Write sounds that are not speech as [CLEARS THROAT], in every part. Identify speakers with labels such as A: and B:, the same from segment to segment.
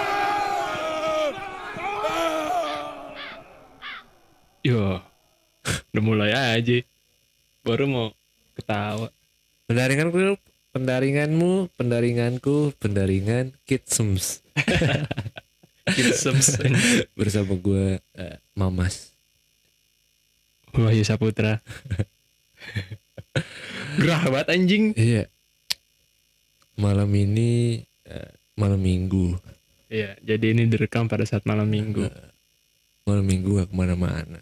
A: [LAUGHS] mulai aja baru mau ketawa
B: Pendaringanku, pendaringanmu, pendaringanku, pendaringan Kitsems
A: [LAUGHS] Kitsems
B: bersama gue Mamas.
A: Wahyu Saputra gerah banget anjing
B: Iya. Malam ini eh, malam Minggu. Eh,
A: iya jadi ini direkam pada saat malam minggu
B: Malam Minggu gak kemana-mana. Nah,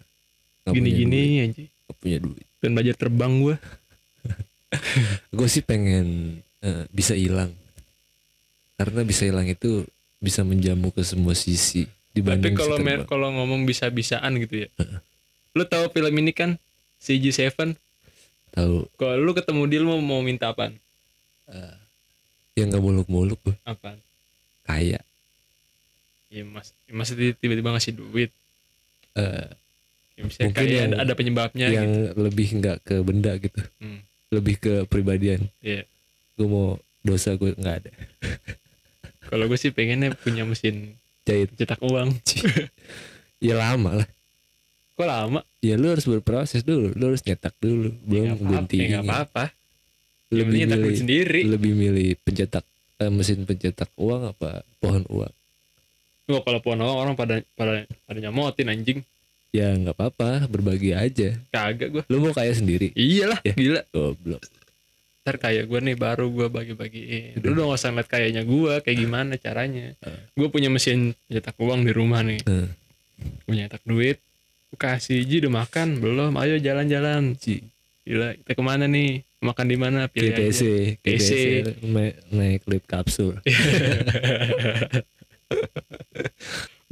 B: Gak punya duit,
A: gini-gini anjing
B: Gak punya duit.
A: dan belajar terbang gue
B: Gue sih pengen eh, bisa hilang. Karena bisa hilang itu bisa menjamu ke semua sisi.
A: tapi
B: Dibanding
A: kalau
B: bisa
A: mer-
B: terbang.
A: kalau ngomong bisa-bisaan gitu ya lu tahu film ini kan CG7
B: tahu
A: kalau lu ketemu dia lu mau, mau minta apaan
B: yang gak muluk-muluk gue
A: apaan
B: kaya.
A: ya mas ya, masa tiba-tiba ngasih duit
B: Eh,
A: ya, misalnya
B: Mungkin
A: kayak
B: yang-
A: ada, ada penyebabnya
B: yang
A: gitu
B: lebih nggak ke benda gitu.
A: Hmm.
B: Lebih ke pribadian.
A: Iya.
B: Gue mau dosa gue nggak ada.
A: kalau gue sih pengennya punya mesin
B: Jahit.
A: cetak uang
B: Ya lama lah.
A: kok lama
B: ya lu harus berproses dulu lu harus nyetak dulu
A: ya, nggak
B: belum
A: apa-apa, ya,
B: gunting
A: nggak apa-apa Yang
B: lebih
A: penting nyetak
B: milih
A: duit sendiri
B: lebih milih pencetak eh, mesin pencetak uang apa pohon uang
A: Wah, kalau pohon uang orang pada pada pada nyamotin anjing
B: ya nggak apa-apa berbagi aja
A: kagak gue
B: lu mau kaya sendiri
A: iyalah
B: Ya.
A: [LAUGHS] gila
B: goblok
A: ntar kayak gue nih baru gue bagi-bagiin
B: Udah.
A: lu udah gak usah ngeliat kayaknya gue kayak gimana caranya gue punya mesin cetak uang di rumah nih
B: Hmm.
A: gue nyetak duit gue kasih ji udah makan belum ayo jalan-jalan
B: Ci.
A: gila kita kemana nih makan di mana pilih aja.
B: GTC
A: GTC.
B: GTC na- naik lift kapsul
A: Iya.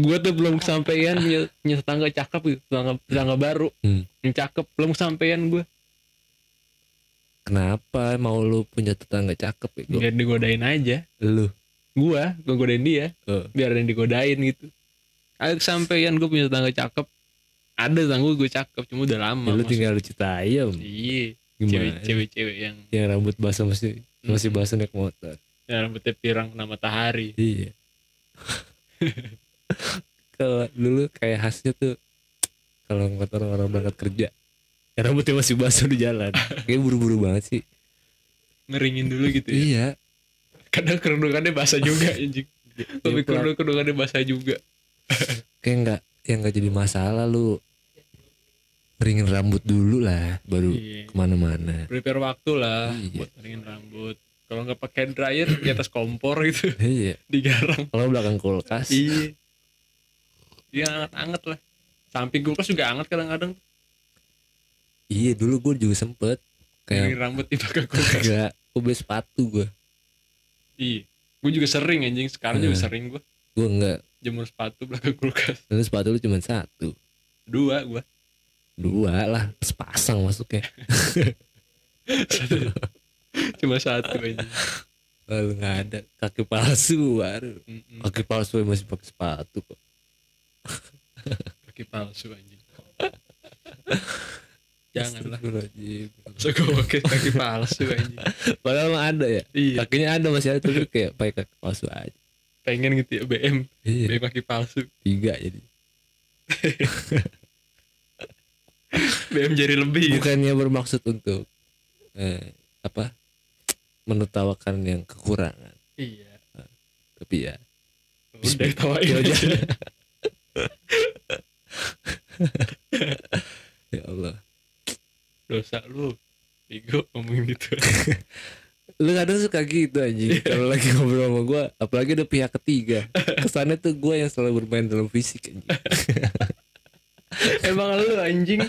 A: gue tuh belum kesampaian punya, punya tetangga cakep gitu tetangga, tetangga baru
B: Hmm.
A: yang cakep belum kesampaian gue
B: kenapa mau lu punya tetangga cakep ya
A: biar digodain aja
B: lu
A: gue gue godain dia
B: Eh.
A: biar ada yang digodain gitu ayo kesampaian gue punya tetangga cakep ada tetangga gue cakep cuma udah lama
B: ya, lu
A: maksud-
B: tinggal lu citayam
A: iya
B: gimana
A: cewek-cewek yang
B: yang rambut basah masih masih basah naik motor
A: yang rambutnya pirang kena matahari
B: Iya.
A: [LAUGHS]
B: kalau dulu kayak khasnya tuh kalau ngeliat orang-orang berangkat kerja, ya rambutnya masih basah di
A: [LAUGHS]
B: jalan. Kayak buru-buru banget sih.
A: ngeringin dulu gitu ya
B: Iya.
A: kadang kerudungannya basah [LAUGHS] juga anjing tapi kerudung kerudungannya basah juga
B: Kayak nggak yang nggak jadi masalah lu ringin rambut dulu lah, baru
A: iya
B: kemana-mana.
A: prepare waktu lah
B: Iya.
A: buat ngeringin rambut kalau nggak pakai dryer di atas kompor gitu [LAUGHS]
B: Iya.
A: digarang
B: Kalau belakang kulkas,
A: iya yang Iya, anget-anget lah samping kulkas juga anget kadang-kadang
B: iya dulu gue juga sempet
A: ngeringin
B: kayak
A: rambut tiba ke
B: [LAUGHS]
A: kulkas
B: kagak gue sepatu gue,
A: [LAUGHS] iya gue juga sering anjing sekarang juga
B: Eh.
A: sering gue
B: gue nggak,
A: jemur sepatu belakang kulkas
B: dulu sepatu lu cuma satu,
A: dua gue
B: dua lah, sepasang masuknya.
A: [LAUGHS] cuma satu anjing
B: Lalu nggak ada kaki palsu baru.
A: Mm-mm.
B: Kaki palsu yang masih pakai sepatu kok.
A: kaki palsu
B: [LAUGHS]
A: anjing janganlah
B: Astagfirullahaladzim.
A: so gue pakai kaki palsu anjing
B: Padahal mah ada ya.
A: iya
B: Kakinya ada masih ada tapi kayak pakai kaki palsu aja.
A: pengen gitu ya BM
B: Iya.
A: BM kaki palsu
B: Tiga jadi.
A: BM jari lebih gitu.
B: Bukannya bermaksud untuk eh, apa menertawakan yang kekurangan.
A: iya
B: Tapi ya.
A: udah tawain
B: Ya
A: aja
B: udah. [LAUGHS] ya Allah.
A: dosa lu Bigo ngomongin gitu [LAUGHS]
B: Lu kadang suka gitu anjing Kalau lagi ngobrol sama gue Apalagi ada pihak ketiga Kesannya tuh gue yang selalu bermain dalam fisik anjing
A: emang lu anjing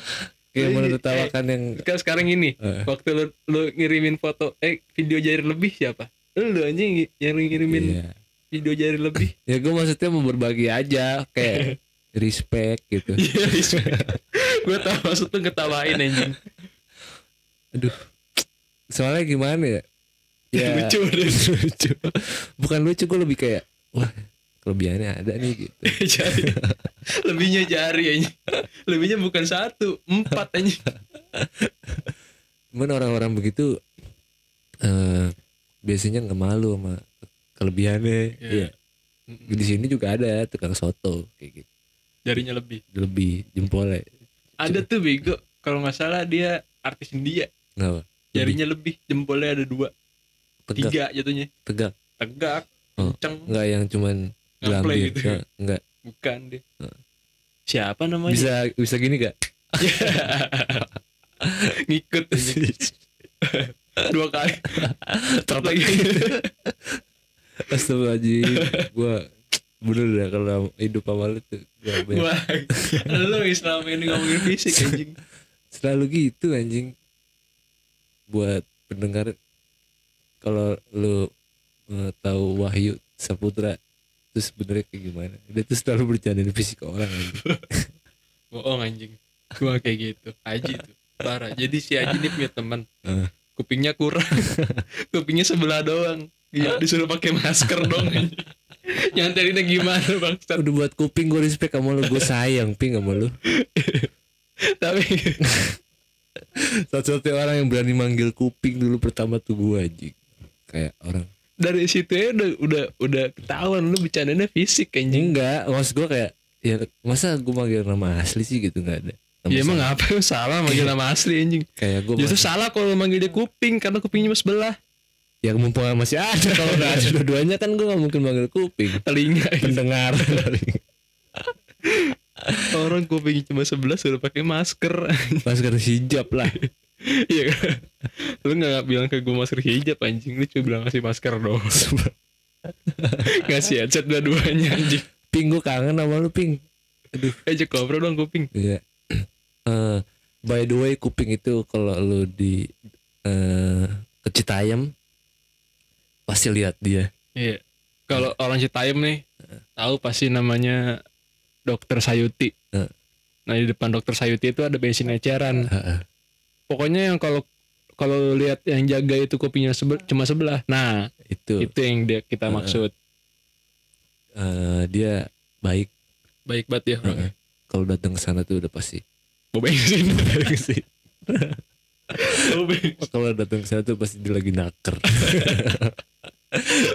B: Kayak
A: Jadi,
B: menertawakan yang
A: sekarang sekarang ini
B: eh,
A: waktu lu, lu ngirimin foto eh video jari lebih siapa lu anjing yang ngirimin
B: iya.
A: video jari lebih
B: Ya gue maksudnya mau berbagi aja Kayak respect
A: [LAUGHS]
B: gitu
A: iya gue tau maksud tuh ngetawain anjing
B: Soalnya gimana ya Ya
A: lucu deh [LAUGHS]
B: lucu. [LAUGHS] Bukan lucu gue lebih kayak Wah kelebihannya ada nih gitu
A: jari lebihnya jari anjing lebihnya bukan satu empat anjing
B: Cuman orang-orang begitu eh Biasanya nggak malu sama kelebihannya
A: Iya.
B: Iya Di sini juga ada tukang soto kayak gitu
A: jarinya lebih
B: Lebih jempolnya
A: ada tuh bego kalau nggak salah dia artis India
B: Kenapa?
A: jarinya lebih jempolnya ada dua
B: Tegak,
A: tiga jatuhnya
B: tegak.
A: tegak
B: Oh.
A: kenceng
B: Enggak yang cuman
A: Ngeplay
B: gelambil.
A: gitu.
B: Enggak, enggak.
A: bukan dia
B: Heeh.
A: siapa namanya
B: Oh. Bisa bisa gini gak?
A: [LAUGHS] ngikut aja. dua kali Terus lagi
B: Astagfirullahaladzim. gua bener dah kalau hidup awal itu gua banyak-
A: [LAUGHS] Wah, lu Islam ini ngomongin [LAUGHS] fisik anjing
B: selalu gitu anjing buat pendengar kalau lu eh, tahu Wahyu Saputra itu sebenarnya kayak gimana dia tuh selalu bercandain fisik orang anjing.
A: bohong anjing gua kayak gitu Haji tuh parah jadi si Haji ini punya teman
B: Heeh.
A: kupingnya [LAUGHS] kurang kupingnya sebelah doang Iya, disuruh pakai masker [LAUGHS] dong anjing. nyantarinnya gimana bang [LAUGHS]
B: udah buat kuping gue respect sama lu gue sayang ping sama lu
A: tapi
B: satu-satunya orang yang berani manggil kuping dulu pertama tuh gue anjing kayak orang
A: dari situ ya udah udah udah ketahuan lu bercandanya fisik anjing
B: enggak maksud gue kayak ya masa gue manggil nama asli sih gitu nggak Ya, ada Nama
A: ya
B: Iya.
A: emang
B: sa-
A: apa yang salah manggil nama asli anjing
B: kayak gue
A: justru salah kalau manggil dia kuping karena kupingnya sebelah
B: ya mumpung masih ada kalau nggak ada dua-duanya kan gue nggak mungkin manggil kuping [LAUGHS]
A: telinga
B: pendengar
A: orang kupingnya cuma sebelah suruh pakai masker [LAUGHS]
B: masker hijab lah
A: Iya kan? Lu gak bilang ke gue masker hijab anjing Lu cuma bilang ngasih masker
B: [LAUGHS]
A: doang Ngasih headset dua-duanya anjing
B: ping gue kangen sama lu ping
A: Eh Jack Cobra dong kuping
B: Iya. [CLEARS THROAT] Eh, by the way kuping itu kalau lu di eh ke Citayam pasti lihat dia
A: Iya Kalau orang Citayam nih tahu pasti namanya Dokter Sayuti
B: Heeh.
A: Nah di depan Dokter Sayuti itu ada bensin eceran
B: Heeh.
A: Pokoknya yang kalau kalau lu lihat yang jaga itu kupingnya sebe- cuma sebelah Nah
B: itu
A: itu yang dia, kita
B: Heeh.
A: maksud
B: eh, dia baik
A: Baik banget ya orangnya.
B: Heeh. kalau datang ke sana tuh udah pasti
A: Bau
B: [LAUGHS]
A: bensin Bau bensin
B: kalau datang ke sana tuh pasti dia lagi naker [LAUGHS]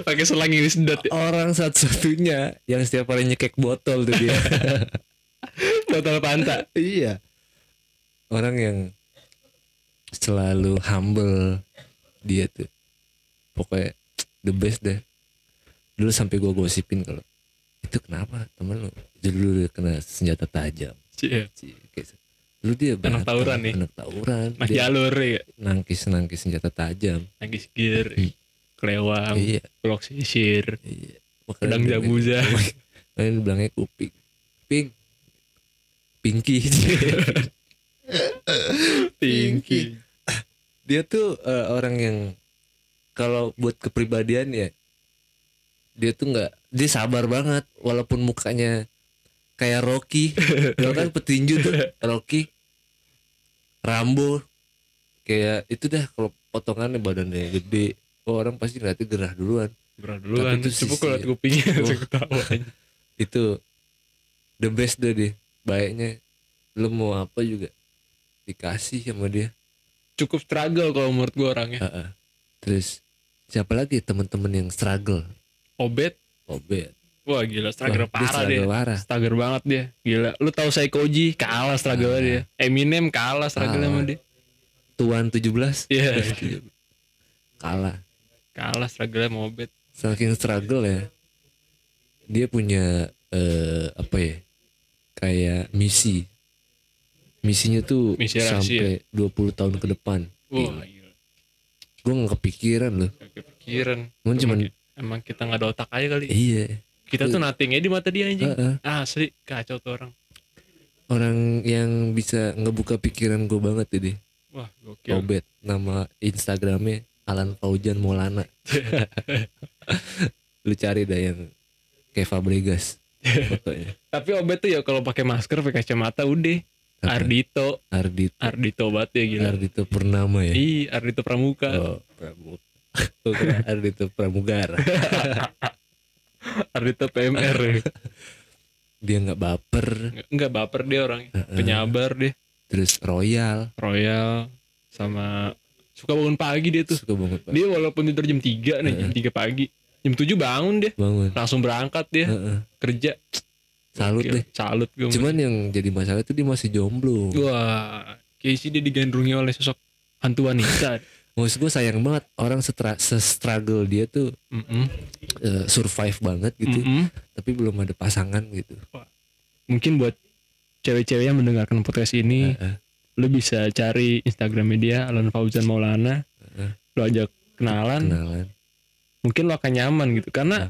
A: Pakai selang ini sedot ya
B: orang satu-satunya yang setiap hari nyekek botol tuh [LAUGHS] dia
A: Total panta
B: iya orang yang selalu humble dia tuh pokoknya the best deh dulu sampai gua gosipin kalau itu kenapa temen lu dulu dia kena senjata tajam
A: Cie.
B: sih kayak dulu dia berantem,
A: tawuran nih.
B: anak tawuran
A: Nah
B: dia
A: jalur ya
B: nangkis nangkis senjata tajam
A: Nangis gear
B: Hmm.
A: Kelewang
B: iya
A: Blok sisir
B: iya
A: Pedang
B: dia- [LAUGHS]
A: jamuza
B: makanya dia bilangnya kuping pink pinky [LAUGHS]
A: Tinggi
B: dia tuh eh, orang yang kalau buat kepribadian ya dia tuh nggak dia sabar banget walaupun mukanya kayak Rocky Dia kan petinju tuh Rocky Rambo kayak itu dah kalau potongannya badannya gede oh, orang pasti ngeliatnya gerah duluan
A: Berat duluan
B: Tapi itu
A: Coba
B: sisir.
A: kalau liat kupingnya
B: Oh.
A: langsung ketawa
B: itu the best deh dia baiknya lu mau apa juga dikasih sama dia
A: [LAUGHS] Cukup struggle kalau menurut gue orangnya
B: Heeh. terus siapa lagi temen-temen yang struggle ya.
A: Obet
B: obet
A: Wah gila struggle
B: Wah, dia
A: parah
B: struggle
A: dia
B: parah
A: Struggle banget dia Gila Lu tahu Saikoji Kalah struggle dia Eminem kalah struggle sama
B: Kalah.
A: dia
B: tuan 17
A: Iya
B: [LAUGHS] kalah
A: Kalah struggle sama Obet
B: saking struggle ya dia punya eh, apa ya kayak misi misinya tuh
A: Misi rahasia.
B: sampai 20 tahun ke depan
A: Wah gila
B: gue nggak kepikiran loh
A: Gak kepikiran
B: Cuman cuman
A: Emang kita gak ada otak aja kali
B: iya
A: Kita tuh nothingnya di mata dia anjing
B: Heeh.
A: Asli kacau tuh orang
B: orang yang bisa ngebuka pikiran gue banget ini
A: Wah gokil
B: Obet nama Instagramnya Alan Faujan
A: [LAUGHS]
B: Maulana lu cari dah yang kayak Fabregas
A: [LAUGHS]
B: fotonya
A: Tapi Obet tuh ya kalau pakai masker, pakai kacamata udah.
B: Apa?
A: Ardito,
B: Ardito
A: Ardito banget ya gila.
B: Ardito Purnama ya
A: Ih, Ardito Pramuka,
B: oh, Pramuka [LAUGHS] Gua kira Ardito Pramugara
A: [LAUGHS] Ardito PMR. ya.
B: dia nggak baper
A: Nggak- Nggak baper dia orangnya,
B: Ah.
A: penyabar dia,
B: terus royal
A: royal sama suka bangun pagi dia tuh.
B: suka banget Pak.
A: Dia walaupun tidur jam 3 nih, jam 3 pagi, jam 7 bangun dia,
B: bangun
A: langsung berangkat dia
B: Heeh.
A: kerja.
B: salut
A: Iya. Gokil,
B: deh
A: Salut gue.
B: cuman yang jadi masalah tuh dia masih jomblo
A: Wah, Casey dia digandrungi oleh sosok hantu
B: [LAUGHS]
A: wanita.
B: maksud gue sayang banget orang setra, struggle dia tuh
A: Mm-mm.
B: eh, survive banget gitu
A: Mm-mm.
B: tapi belum ada pasangan gitu
A: Mungkin buat cewek-cewek yang mendengarkan podcast ini,
B: Heeh.
A: lu bisa cari Instagramnya dia Alan Fauzan Maulana.
B: Heeh.
A: Lu ajak kenalan,
B: kenalan
A: mungkin lu akan nyaman gitu. Karena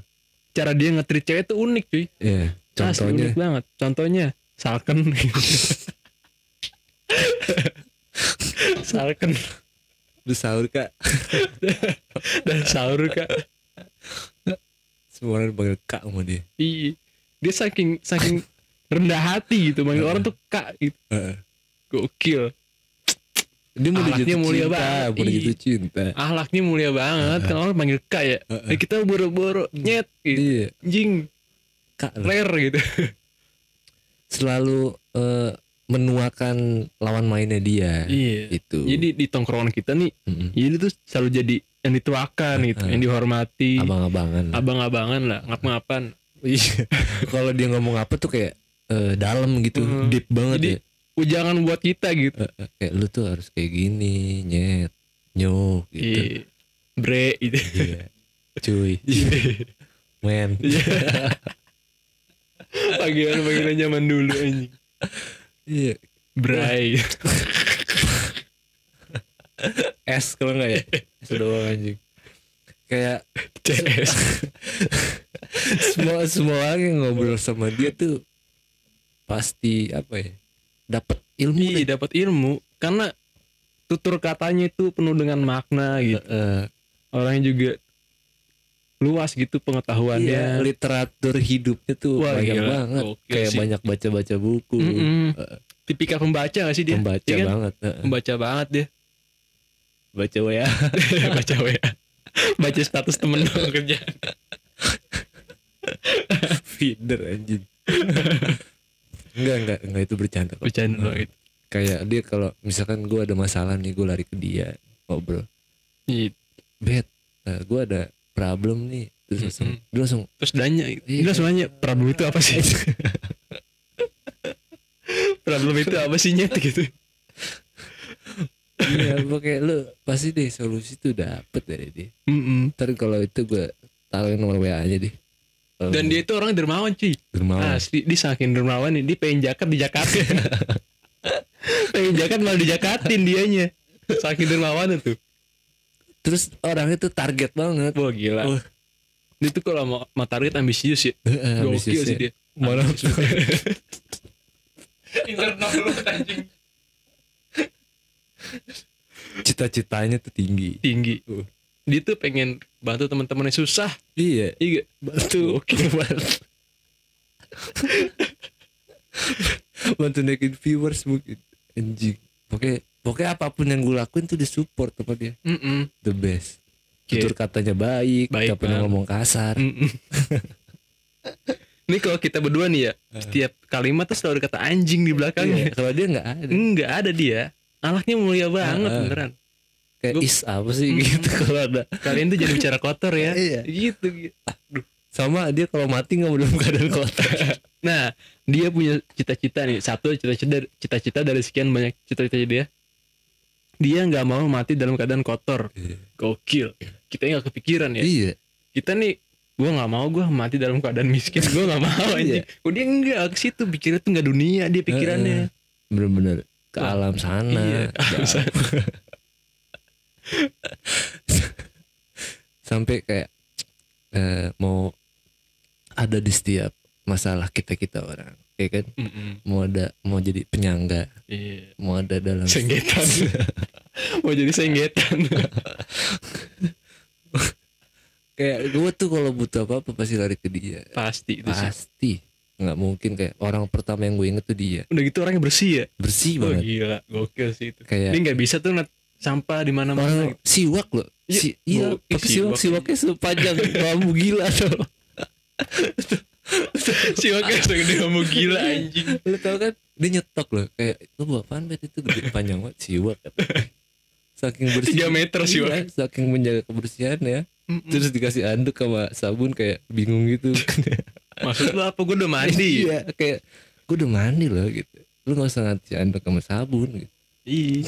A: cara dia nge-treat cewek itu unik, cuy.
B: ya
A: Asli
B: contohnya
A: unik banget. Contohnya salken gitu. salken
B: bersaur kak
A: dan sahur kak.
B: semua orang panggil kak sama dia
A: Iya. Dia saking saking rendah hati gitu manggil
B: Heeh.
A: orang tuh kak gitu.
B: Heeh.
A: Gokil.
B: dia mau
A: Akhlaknya
B: jatuh
A: mulia
B: cinta
A: banget.
B: mau
A: Iya.
B: jatuh cinta Iya.
A: Ahlaknya mulia banget. Kan orang panggil kak ya.
B: Heeh.
A: Nah, kita boro-boro nyet gitu.
B: iya
A: Anjing,
B: kak lah.
A: rare gitu.
B: selalu eh, menuakan lawan mainnya dia Gitu.
A: Iya.
B: itu
A: Jadi di tongkrongan kita nih, jadi tuh selalu jadi yang dituakan gitu, yang dihormati,
B: abang-abangan
A: abang-abangan lah, ngap-ngapan.
B: [LAUGHS] Iya. kalau dia ngomong apa tuh kayak eh, dalam gitu
A: Heeh.
B: deep banget
A: Jadi-
B: ya
A: Ujangan buat kita gitu.
B: Eh, eh, kayak lu tuh harus kayak gini nyet nyo gitu
A: Iya. Bre gitu.
B: Iya. cuy men
A: [LAUGHS] Panggilan-panggilan zaman dulu anjing.
B: iya
A: Bray.
B: S kalau nggak ya
A: [LAUGHS]
B: S doang anjing kayak
A: [LAUGHS] CS.
B: semua semua orang yang ngobrol sama dia tuh pasti apa ya dapat ilmu deh.
A: Iya, dapat ilmu karena tutur katanya itu penuh dengan makna gitu.
B: Eh,
A: Orangnya juga luas gitu
B: iya,
A: pengetahuannya.
B: literatur hidupnya tuh
A: Wah,
B: banyak
A: gila.
B: banget
A: Gokil
B: kayak
A: sih.
B: banyak baca-baca buku
A: Mm-mm.
B: Heeh.
A: Tipikal pembaca gak sih dia?
B: pembaca
A: Iya kan?
B: banget Heeh.
A: Pembaca banget
B: [LAUGHS]
A: dia.
B: baca
A: [LAUGHS]
B: ya
A: baca WA baca status temen dong kerja
B: feeder [LAUGHS] anjing enggak enggak enggak itu bercanda kok.
A: bercanda gitu. loh itu
B: kayak dia kalau misalkan gue ada masalah nih gue lari ke dia ngobrol
A: Iya.
B: bet eh, gue ada problem nih terus langsung
A: Mm-mm.
B: dia langsung
A: terus nanya gitu.
B: Iya.
A: Dia langsung nanya problem itu apa [LAUGHS] sih problem itu apa sih nyet gitu
B: iya gue kayak lu pasti deh solusi tuh dapet dari dia
A: Mm-mm.
B: ntar kalau itu gue taruhin nomor wa aja deh Kalau
A: dan dia itu orang dermawan cuy
B: dermawan
A: asli dia saking dermawan nih dia pengen jaket di [LAUGHS] Jakarta pengen jaket malah dijakatin dianya saking dermawan itu
B: terus orangnya tuh target banget [LAUGHS]
A: wah gila
B: Wah.
A: dia tuh kalau mau, mau target ambisius ya gokil sih dia [LAUGHS]
B: Mana-
A: Internal anjing
B: cita-citanya tuh tinggi
A: tinggi.
B: Uh.
A: Dia tuh pengen bantu teman-temannya susah.
B: iya
A: Iya,
B: bantu
A: Oke,
B: bantu naikin viewers mungkin anjing pokoknya pokoknya apapun yang gue lakuin tuh disupport sama dia
A: Mm-mm.
B: the best
A: Oke.
B: tutur katanya baik,
A: Baik
B: gak pernah
A: banget. Hmm,
B: ngomong kasar
A: Mm-mm. Ini kalau kita berdua nih ya, setiap kalimat tuh selalu ada kata anjing di
B: Eh. Iya,
A: belakangnya.
B: kalau dia nggak ada
A: Enggak ada dia. Anaknya mulia banget
B: Ah.
A: beneran.
B: kayak
A: Gua-
B: is apa sih
A: Mm.
B: gitu kalau ada
A: Kalian tuh jangan bicara kotor ya.
B: Iya.
A: Gitu, gitu.
B: sama dia kalau mati nggak dalam keadaan kotor
A: Nah, dia punya cita-cita nih. Satu cita-cita cita-cita dari sekian banyak cita-cita dia. Dia nggak mau mati dalam keadaan kotor. Gokil. Kita nggak kepikiran ya.
B: iya
A: kita nih gue nggak mau gue mati dalam keadaan miskin gue nggak mau
B: [LAUGHS] Iya.
A: anjing oh, dia enggak ke situ pikirnya tuh nggak dunia dia pikirannya
B: bener-bener ke
A: Wah,
B: alam [LAUGHS] sana
A: iya, [LAUGHS] ke alam
B: Ya. sampai kayak eh, mau ada di setiap masalah kita kita orang ya kan mau ada mau jadi penyangga
A: iya
B: mau ada dalam [LAUGHS]
A: senggetan mau jadi senggetan
B: kayak gue tuh kalau butuh apa apa pasti lari ke dia
A: pasti itu Gitu sih.
B: pasti nggak mungkin kayak orang pertama yang gue inget tuh dia
A: udah gitu orangnya bersih ya
B: bersih
A: oh,
B: banget
A: gila gokil sih itu
B: Iya, kayak Oh.
A: dia nggak bisa tuh ngeliat sampah di gitu. mana mana
B: orang siwak loh
A: Iya,
B: si, iya
A: gua-
B: pakai
A: siwak.
B: siwak siwaknya
A: [LAUGHS]
B: sepanjang kamu gila tuh
A: [LAUGHS] si wakil segede kamu gila anjing
B: lu tau kan dia nyetok loh kayak lu buat apaan bet itu gede panjang banget siwak katanya.
A: [LAUGHS]
B: saking bersih
A: Tiga meter siwak. Hmm.
B: Iya, saking menjaga kebersihan ya
A: Mm-mm.
B: terus dikasih anduk sama sabun kayak bingung gitu
A: maksud lu apa gue
B: [LAUGHS]
A: udah [LAUGHS] mandi
B: iya kayak gue udah mandi loh gitu lu gak usah ngasih anduk sama sabun gitu
A: Ih.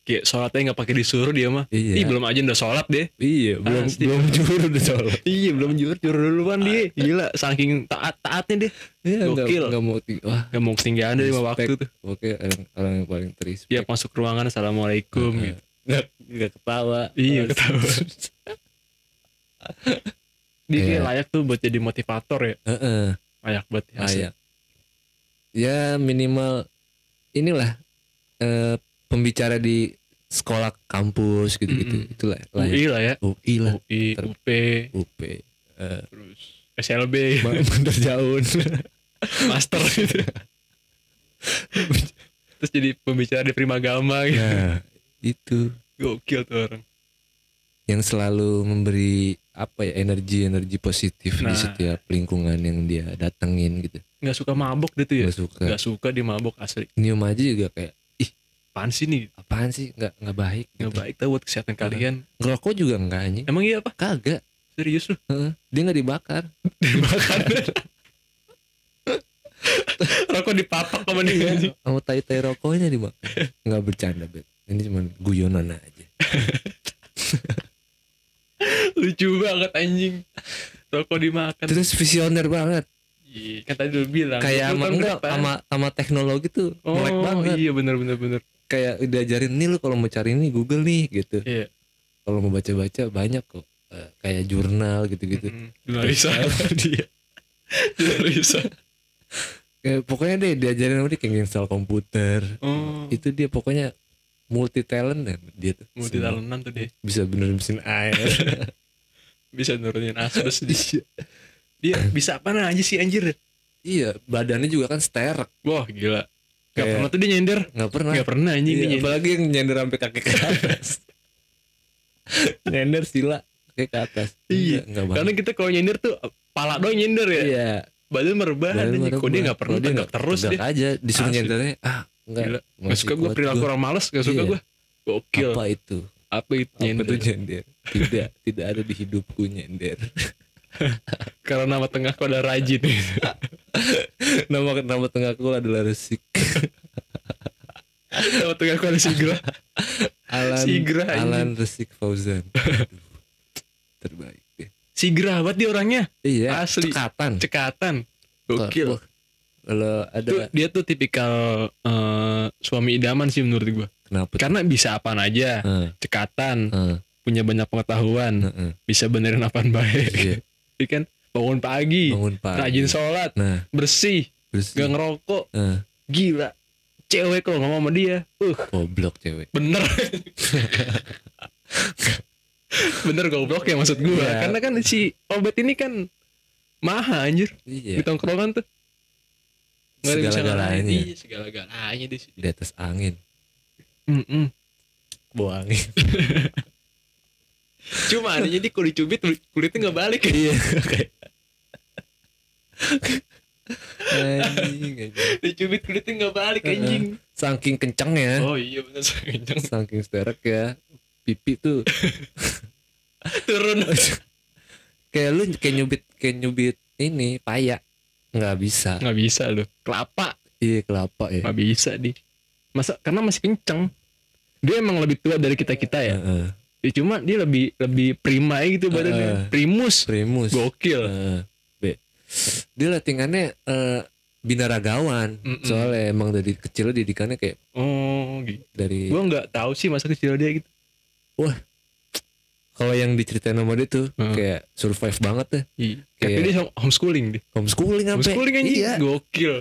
A: Kayak sholatnya nggak pakai disuruh dia mah.
B: Iya.
A: Ih belum aja udah sholat deh.
B: Iya, belum
A: Pasti.
B: belum jujur Ah. udah sholat.
A: Ah, Iya belum jujur jujur duluan dia. Gila saking taat taatnya deh.
B: Iya, nggak-
A: Gokil.
B: nggak mau ti- wah.
A: Gak mau ketinggian dari lima waktu tuh.
B: Oke, orang, orang yang paling terrespect.
A: Tiap masuk ruangan assalamualaikum
B: Heeh.
A: gitu.
B: Nggak nggak ketawa.
A: Iya,
B: Terus-
A: ketawa. Dia kayak
B: Iya.
A: layak tuh buat jadi motivator ya.
B: [LAUGHS] Heeh,
A: Layak buat ya.
B: layak. Ah, iya. Ya minimal inilah eh, pembicara di sekolah kampus gitu-gitu.
A: Mm-mm.
B: Itulah layak.
A: UI lah ya.
B: UI lah,
A: UI,
B: Ter-
A: UP,
B: UP. [LAUGHS] Eh,
A: terus
B: [LAUGHS]
A: SLB,
B: Bandar
A: [LAUGHS]
B: Jaun.
A: master gitu. Terus jadi pembicara di Primagama gitu.
B: Nah, itu.
A: Gokil tuh orang.
B: yang selalu memberi apa ya energi energi positif di
A: Nah.
B: setiap lingkungan yang dia datengin gitu.
A: Nggak suka mabok dia tuh ya.
B: Gue suka.
A: Nggak suka dia mabok asli.
B: Nyium aja juga kayak
A: Apaan sih nih?
B: apaan sih nggak nggak baik.
A: Nggak
B: Gitu. Nah.
A: baik tau buat kesehatan kalian.
B: Ngerokok juga nggak anjing.
A: Emang iya apa?
B: Kagak.
A: Serius lu?
B: Heeh. Dia nggak dibakar.
A: Dibakar. Rokok dipapak sama
B: Iya.
A: dia anjing.
B: Sama tai tai rokoknya dibakar. nggak bercanda bet. Ini cuman guyonan aja.
A: Lucu banget anjing. Rokok dimakan.
B: Terus visioner banget.
A: Iya, kan tadi udah bilang. 20
B: Kayak sama
A: tahun
B: enggak
A: ke depan.
B: sama sama teknologi tuh
A: Oh
B: melek banget.
A: iya bener bener bener.
B: Kayak diajarin nih lu kalau mau cari ini Google nih gitu.
A: Iya.
B: Kalau mau baca-baca banyak kok. Eh, kayak jurnal gitu-gitu.
A: Mm-mm. Jurnalis dia. Jurnalis.
B: Eh, pokoknya deh diajarin sama dia kayak install komputer.
A: Oh.
B: Itu dia pokoknya multi talent dan dia tuh.
A: Multi talentan tuh dia.
B: Bisa benerin mesin
A: [LAUGHS]
B: air.
A: Bisa nurunin asbes dia.
B: iya.
A: Dia bisa apa aja sih anjir?
B: Iya, badannya juga kan sterek.
A: Wah, gila. Gak
B: Kayak-
A: pernah tuh dia nyender.
B: Nggak pernah.
A: Gak pernah anjing
B: Iya,
A: dia nyender.
B: apalagi yang nyender sampai kaki ke atas. [LAUGHS] nyender sila kaki ke atas.
A: Iya.
B: Nggak
A: Karena
B: banget.
A: kita kalau nyender tuh pala doang nyender ya.
B: Iya.
A: Badan merebahan
B: badan
A: anjing.
B: baru
A: Kok dia
B: mah.
A: gak pernah
B: Kalau dia
A: tegak
B: nggak-
A: terus
B: tegak
A: dia.
B: aja disuruh
A: Asli.
B: nyendernya ah enggak.
A: Gila.
B: masih
A: Gak suka gue
B: kuat
A: perilaku
B: gua.
A: orang males. Gak suka
B: Iya.
A: gue. Gokil.
B: Apa itu?
A: Apa itu
B: Apa itu
A: nyender?
B: nyender? Tidak, tidak ada di hidupku nyender.
A: Karena nama tengah kau ada rajin.
B: [LAUGHS] Iya. nama nama tengahku adalah Resik
A: [LAUGHS] nama tengah kau ada sigra.
B: Alan
A: Sigra, anjing.
B: Alan Resik [LAUGHS] Fauzan Aduh, terbaik deh
A: Sigra banget dia orangnya.
B: iya
A: Asli.
B: cekatan
A: Cekatan. Gokil.
B: Wah, kalau ada
A: Tuh, dia tuh tipikal eh, suami idaman sih menurut gue.
B: kenapa Nah, tuh?
A: Karena bisa apaan aja.
B: Heeh,
A: Cekatan.
B: heeh,
A: Punya banyak pengetahuan.
B: heeh.
A: Bisa benerin apaan baik.
B: Iya,
A: [LAUGHS] Iya kan? Bangun pagi.
B: bangun pagi
A: Rajin sholat.
B: nah
A: Bersih.
B: terus eh,
A: Gak ngerokok.
B: Heeh,
A: Gila. Cewek kalau ngomong sama dia. Uh,
B: goblok cewek [LAUGHS]
A: bener. bener goblok ya maksud gue.
B: Iya.
A: Karena kan si obat ini kan mahal anjir. Di
B: iya
A: tongkrongan tuh. Nggak ada yang bisa ngalahin.
B: segala-galanya
A: Iya, segala-galanya di sini.
B: di atas angin
A: Mm-mm.
B: bau angin
A: Cuma adanya dia kulit cubit kulitnya nggak
B: [LAUGHS]
A: balik. [LAUGHS] Iya.
B: anjing, gitu. anjing.
A: Dicubit kulitnya nggak balik anjing.
B: saking kencengnya
A: Oh iya benar [LAUGHS] kenceng
B: saking sterek ya pipi tuh
A: turun.
B: kayak lu kayak nyubit kayak nyubit ini paya nggak bisa
A: Nggak bisa loh. Kelapa
B: iya kelapa ya
A: nggak bisa di. Masa karena masih kenceng. Dia emang lebih tua dari kita kita ya.
B: Heeh.
A: Ya, cuma dia lebih lebih prima gitu
B: Eh.
A: badannya. Primus.
B: primus
A: Gokil.
B: Heeh. B dia latihannya eh, binaragawan
A: Mm-mm.
B: soalnya emang dari kecil didikannya kayak
A: Oh gitu.
B: dari
A: Gue nggak tahu sih masa kecil dia gitu.
B: kalau yang diceritain sama dia tuh
A: Heeh.
B: kayak survive banget deh
A: Iya.
B: Kayak-
A: Tapi dia home- homeschooling deh.
B: homeschooling sampai
A: Homeschooling anjing.
B: iya
A: Gokil.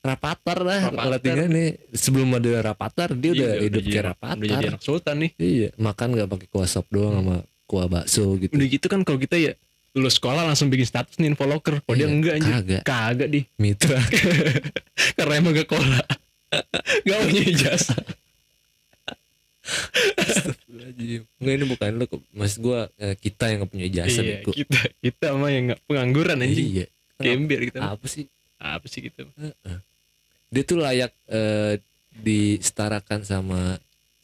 B: rapatar lah
A: Rapatar.
B: latihannya sebelum ada rapatar
A: Iya,
B: dia udah
A: jadi-
B: hidup kayak
A: Udah jadi
B: rapatar
A: anak sultan nih.
B: iya makan nggak pakai kuah sop doang sama kuah bakso gitu
A: Udah gitu kan kalau kita ya lulus sekolah langsung bikin status nih info locker. Kalau Oh, dia
B: Iya,
A: enggak anjir.
B: kagak
A: Kagak di
B: mitra
A: [LAUGHS] karena emang gak kola. [LAUGHS] gak punya ijazah.
B: Enggak ini bukan lu kok. Maksud gua eh, kita yang gak punya ijazah
A: Iya,
B: Beko.
A: kita kita mah yang nggak pengangguran anjing.
B: Iya.
A: Gembir kita. mah.
B: Apa sih?
A: Apa sih kita? mah?
B: Dia tuh layak eh, disetarakan sama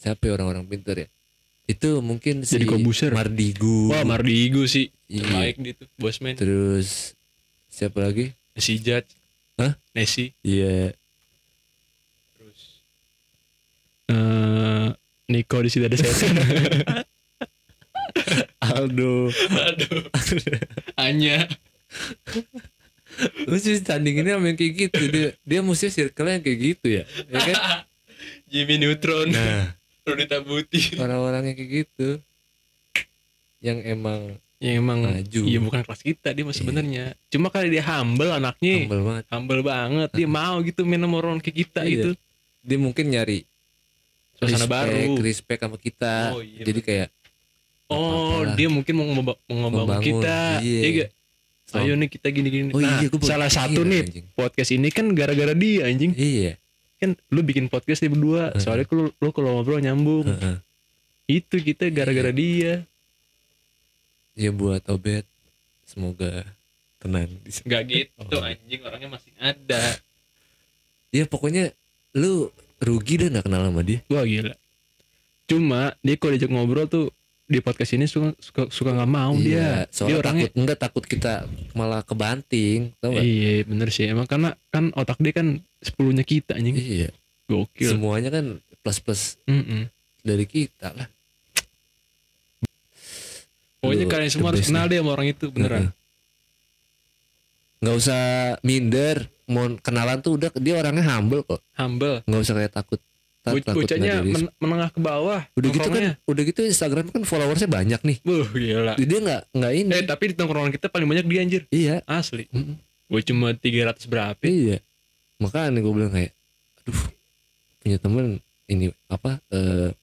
B: siapa ya orang-orang pintar ya? Itu mungkin si
A: Jadi Corbuzier.
B: Mardigu.
A: Wah, Mardigo sih.
B: Iya.
A: Terbaik dia tuh, bosman.
B: Terus siapa lagi?
A: Si Judge.
B: Hah?
A: Iya, Messi.
B: Iya.
A: Terus eh Niko di situ ada setan.
B: Aldo
A: [LAUGHS] Aduh. Anya.
B: lu sih tandinginnya sama yang kayak gitu dia dia mesti circle yang kayak gitu ya ya kan
A: Jimmy Neutron.
B: nah
A: Rudita Buti.
B: orang-orang yang kayak gitu yang emang
A: Ya emang
B: Maju.
A: Iya bukan kelas kita dia mah sebenarnya. Cuma kali dia humble anaknya. Humble,
B: humble banget
A: banget. Dia mau gitu main sama orang kayak kita
B: Iya.
A: gitu.
B: dia mungkin nyari
A: Suasana
B: respect,
A: baru.
B: respect sama kita
A: Oh, iya,
B: jadi kayak
A: Oh,
B: apa-apa lah.
A: dia mungkin mau memba- mau membangun
B: Membangun,
A: kita.
B: iya.
A: Iya. gak? Ayo nih kita gini-gini.
B: Oh,
A: nah,
B: iya, gua baru
A: salah satu
B: pikir,
A: nih
B: anjing.
A: podcast ini kan gara-gara dia anjing.
B: iya
A: Kan lu bikin podcast dia berdua.
B: Heeh.
A: Soalnya kan lu, lu kalau ngobrol nyambung.
B: heeh.
A: Itu kita gara-gara dia.
B: ya buat obet semoga tenang di sana.
A: Gak gitu
B: Oh.
A: anjing orangnya masih ada.
B: ya pokoknya lu rugi dah nggak kenal sama dia
A: Wah gila. Cuma dia kalau diajak ngobrol tuh di podcast ini suka suka suka nggak mau
B: iya
A: dia. Dia
B: soalnya
A: orangnya
B: takut enggak takut kita malah kebanting tau gak
A: Iya bener sih emang karena kan otak dia kan sepuluhnya kita anjing
B: iya
A: gokil.
B: semuanya kan plus plus
A: Mm-mm.
B: dari kita lah
A: Pokoknya
B: Aduh,
A: kalian
B: the
A: semua harus
B: best
A: kenal deh sama orang itu beneran.
B: nggak usah minder mau kenalan tuh udah dia orangnya humble kok
A: Humble.
B: nggak usah kayak takut Ntar
A: Bo-
B: takut
A: bocahnya
B: nggak di-
A: men- menengah ke bawah.
B: udah gitu kan Iya.
A: nongkrongnya.
B: udah gitu Instagram kan followersnya banyak nih
A: Wuh gila.
B: dia nggak nggak ini
A: Eh tapi di tongkrongan kita paling banyak dia anjir.
B: iya
A: Asli.
B: Mm-mm.
A: Gue cuma 300 berapa.
B: iya makanya gue bilang kayak aduh punya temen ini apa eh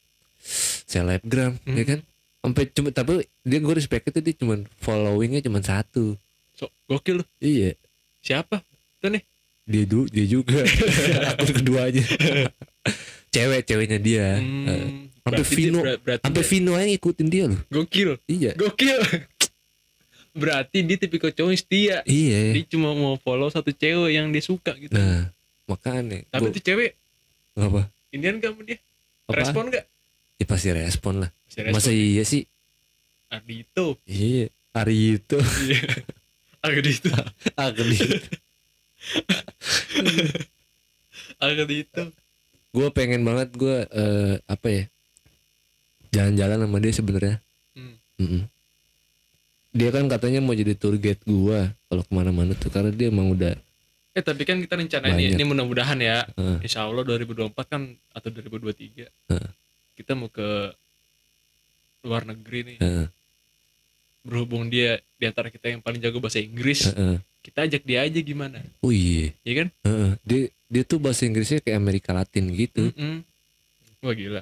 B: selebgram
A: Hmm.
B: ya kan sampai cuma tapi dia gue respect itu dia cuma followingnya cuma satu
A: So, gokil lu.
B: iya
A: Siapa?
B: dia du dia
A: [LAUGHS]
B: juga akun keduanya cewek ceweknya dia Eh,
A: Hmm,
B: sampai
A: berarti dia-
B: Vino-
A: ber- berarti
B: sampai
A: dia-
B: Vino aja ngikutin dia loh
A: Gokil.
B: iya
A: Gokil. [LAUGHS] berarti dia tipikal cowok yang setia.
B: iya
A: Dia cuma mau follow satu cewek yang dia suka gitu.
B: nah makanya
A: tapi
B: gua-
A: tuh cewek
B: apa
A: Indian gak sama dia?
B: apa
A: Respon gak?
B: ya pasti respon lah
A: Masih respon.
B: masa iya sih
A: Ardito.
B: iya hari itu [LAUGHS]
A: Iya. [LAUGHS] Ardito.
B: agak
A: Ardito.
B: gue pengen banget gue eh, apa ya jalan-jalan sama dia sebenarnya
A: Hmm.
B: Mm-mm. dia kan katanya mau jadi tour guide gue kalau kemana-mana tuh karena dia emang udah
A: Eh tapi kan kita rencanain ya,
B: Banyak.
A: ini mudah-mudahan ya.
B: Heeh.
A: Insya Allah 2024 kan atau 2023
B: Heeh.
A: kita mau ke luar negeri nih.
B: Heeh.
A: Berhubung dia di antara kita yang paling jago bahasa Inggris,
B: Heeh.
A: kita ajak dia aja gimana?
B: eh, oh iya
A: Ya kan?
B: Heeh. dia dia tuh bahasa Inggrisnya kayak Amerika Latin gitu
A: Mm-mm. Wah gila.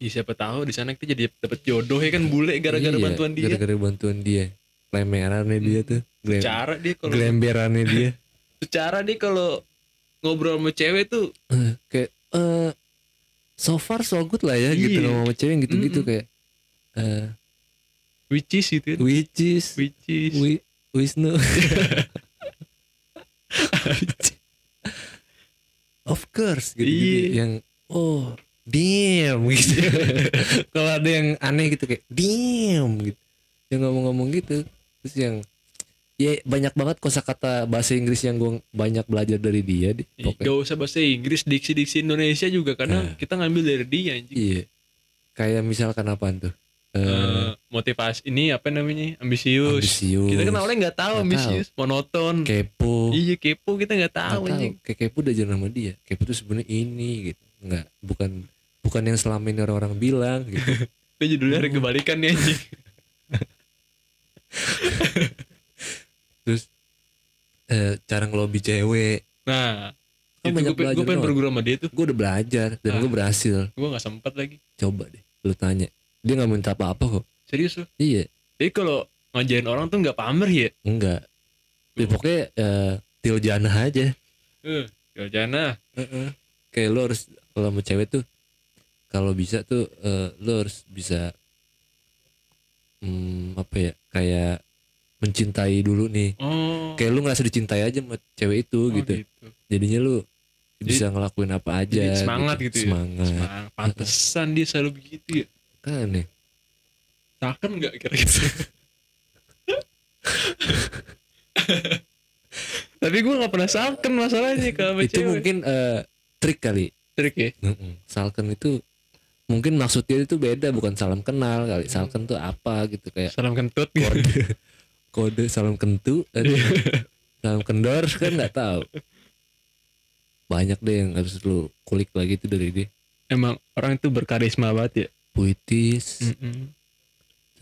A: Ya, siapa tahu di sana kita jadi dapat jodoh ya kan bule gara-gara
B: Iya,
A: bantuan dia.
B: gara-gara bantuan dia lemerannya
A: Hmm.
B: dia tuh Glem-
A: Cara dia kalau
B: glemberannya dia
A: [LAUGHS] secara dia kalau ngobrol sama cewek tuh
B: Eh, kayak eh so far so good lah ya gitu
A: Iya.
B: ngomong sama cewek yang gitu-gitu
A: Mm-mm.
B: kayak eh
A: which is gitu kan
B: which is
A: which is
B: Wi
A: [LAUGHS]
B: Wisnu. of course gitu,
A: Iya.
B: yang oh damn
A: [LAUGHS]
B: gitu. Kalau ada yang aneh gitu kayak damn gitu. Yang ngomong-ngomong gitu terus yang ya banyak banget kosakata bahasa Inggris yang gue banyak belajar dari dia di
A: Ih, gak usah bahasa Inggris diksi-diksi Indonesia juga karena
B: Nah.
A: kita ngambil dari dia anjing
B: Iya. Kayak misalkan apaan tuh?
A: Eh,
B: Eh
A: motivasi ini apa namanya ambisius,
B: ambisius,
A: kita kan awalnya nggak tahu
B: Nggak
A: ambisius monoton
B: kepo.
A: iya kepo kita nggak
B: Nggak
A: tahu
B: tahu
A: anjing
B: kayak kepo udah jalan sama dia kepo tuh sebenarnya ini gitu nggak bukan bukan yang selama ini orang-orang bilang gitu
A: itu judulnya ada kebalikan nih anjing
B: terus eh, cara ngelobi cewek
A: nah
B: Kan
A: itu gue, pe- gue
B: banyak belajar
A: pengen
B: doang.
A: berguru sama dia tuh
B: gue udah belajar dan
A: Ah.
B: gue berhasil
A: gue nggak sempat lagi
B: coba deh lu tanya dia nggak minta apa-apa kok
A: serius loh
B: iya
A: jadi kalau ngajarin orang tuh nggak pamer ya
B: enggak ya,
A: Oh.
B: pokoknya eh, til jana aja
A: eh Jana
B: kayak lu harus kalau sama cewek tuh kalau bisa tuh eh, lu harus bisa hmm, apa ya kayak mencintai dulu nih
A: oh
B: kayak lu ngerasa dicintai aja sama cewek itu
A: oh
B: gitu jadinya lu bisa ngelakuin apa aja
A: jadi semangat gitu ya?
B: semangat
A: Semang- Pantesan dia selalu begitu ya.
B: kan ya
A: Taken nggak kira-kira? [LAUGHS] Tapi gue nggak pernah saken masalahnya kalau sama
B: itu
A: cewek.
B: mungkin eh, trik kali
A: trik ya
B: Heeh. Salken itu mungkin maksudnya itu beda bukan salam kenal kali. Salken tuh apa gitu kayak
A: salam kentut gitu.
B: kode kode salam kentu eh,
A: Iya.
B: salam kendor kan nggak tahu. Banyak deh yang harus lu kulik lagi itu dari dia.
A: emang orang itu berkarisma banget ya
B: Puitis,
A: Mm-mm.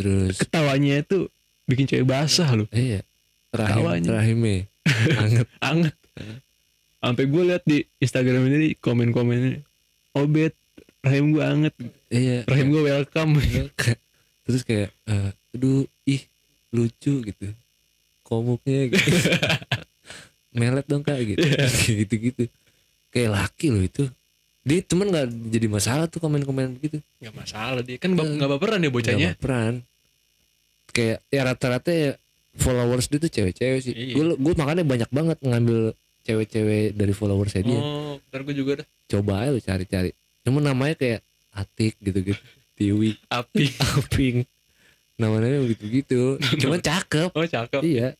B: terus
A: ketawanya itu bikin cewek basah loh
B: iya. Rahim,
A: Ketawanya.
B: rahimnya anget.
A: anget sampai gue lihat di Instagram ini komen komennya obet rahim gue anget
B: Iya.
A: rahim gue welcome
B: Kayak- terus kayak eh, aduh ih lucu gitu komuknya
A: [LAUGHS]
B: gitu melet dong kak gitu
A: Iya.
B: [LAUGHS] gitu gitu kayak laki loh itu dia cuman nggak jadi masalah tuh komen-komen begitu
A: nggak masalah dia kan bap- nggak baperan ya bocahnya
B: Nggak baperan kayak ya rata-rata ya followers dia tuh cewek-cewek sih
A: Iya.
B: gue gue makanya banyak banget ngambil cewek-cewek dari followers dia
A: oh ntar gue juga dah
B: coba aja lu cari-cari cuman namanya kayak Atik
A: [LAUGHS]
B: gitu-gitu Tiwi
A: api
B: Aping namanya begitu-gitu cuman cakep
A: oh cakep
B: iya